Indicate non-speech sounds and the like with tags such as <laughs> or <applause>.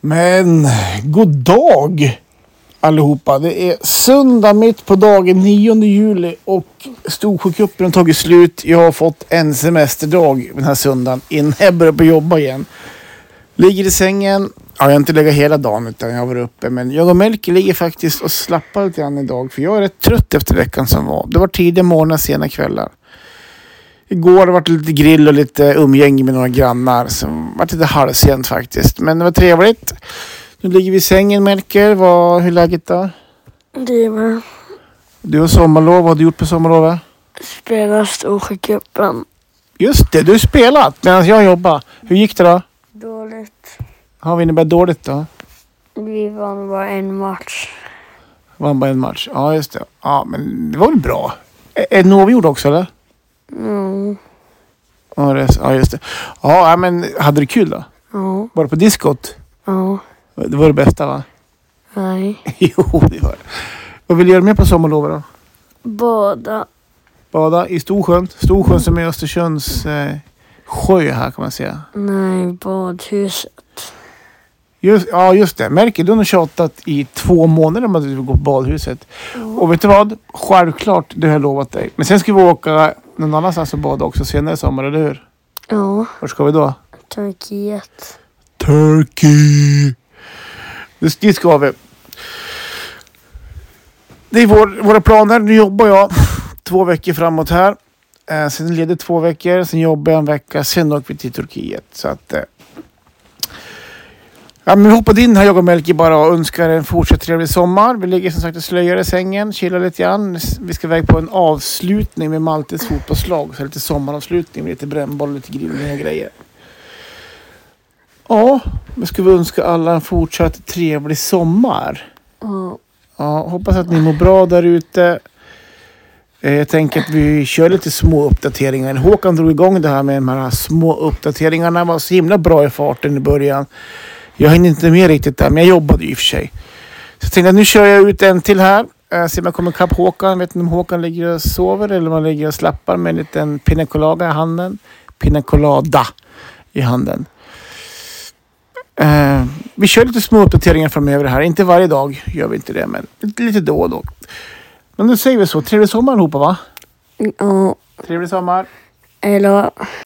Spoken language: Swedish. Men god dag allihopa. Det är söndag mitt på dagen 9 juli och Storsjöcupen har tagit slut. Jag har fått en semesterdag den här söndagen innan jag börjar på jobba igen. Ligger i sängen. Ja, jag har inte legat hela dagen utan jag har varit uppe. Men jag och Melker ligger faktiskt och slappar lite grann idag. För jag är rätt trött efter veckan som var. Det var tidiga morgnar, sena kvällar. Igår var det lite grill och lite umgänge med några grannar. Så det var lite halvsent faktiskt. Men det var trevligt. Nu ligger vi i sängen Melker. Vad, hur är läget då? Det är med Du har sommarlov. Vad har du gjort på sommarlovet? spela Storsjöcupen. Just det, du har spelat medan jag jobbar. Hur gick det då? Dåligt. Har vi innebär dåligt då? Vi vann bara en match. Vann bara en match. Ja, just det. Ja, men det var väl bra. Ä- Är det Novi gjord också eller? Mm. Ja, det är så. Ja, just det. Ja, ja, men hade du kul då? Ja. Var det på diskot? Ja. Det var det bästa va? <laughs> Nej. jo, det var det. Vad vill du göra mer på sommarlovet då? Båda. Bada i Storsjön. Storsjön som är Östersunds eh, sjö här kan man säga. Nej, badhuset. Just, ja, just det. Merkel, du har nog tjatat i två månader om att du vill gå på badhuset. Och vet du vad? Självklart, det har jag lovat dig. Men sen ska vi åka någon annanstans och bada också senare i sommar, eller hur? Ja. Vart ska vi då? Turkiet. Turkey! Det, dit ska vi. Det är vår, våra planer. Nu jobbar jag två veckor framåt här. Eh, sen leder två veckor, sen jobbar jag en vecka, sen åker vi till Turkiet. Så att, eh. ja, men vi hoppade in här jag och Melker bara och önskar en fortsatt trevlig sommar. Vi ligger som sagt och slöjar i sängen, chillar lite grann. Vi ska iväg på en avslutning med Maltes fotbollslag. Så lite sommaravslutning med lite brännboll, lite grillning och grejer. Ja, men ska vi önska alla en fortsatt trevlig sommar. Ja. Ja, hoppas att ni mår bra där ute. Eh, Jag tänker att vi kör lite små uppdateringar. Håkan drog igång det här med de här små uppdateringarna. var så himla bra i farten i början. Jag hinner inte med riktigt där, men jag jobbade ju i och för sig. Så jag tänkte att nu kör jag ut en till här. Eh, Se om jag kommer ikapp Håkan. Vet inte om Håkan ligger och sover eller om han ligger och slappar med en liten pina colada i handen. Pina colada i handen. Eh, vi kör lite små uppdateringar framöver här. Inte varje dag gör vi inte det, men lite, lite då och då. Men nu säger vi så. Trevlig sommar allihopa va? Ja. Trevlig sommar. Eller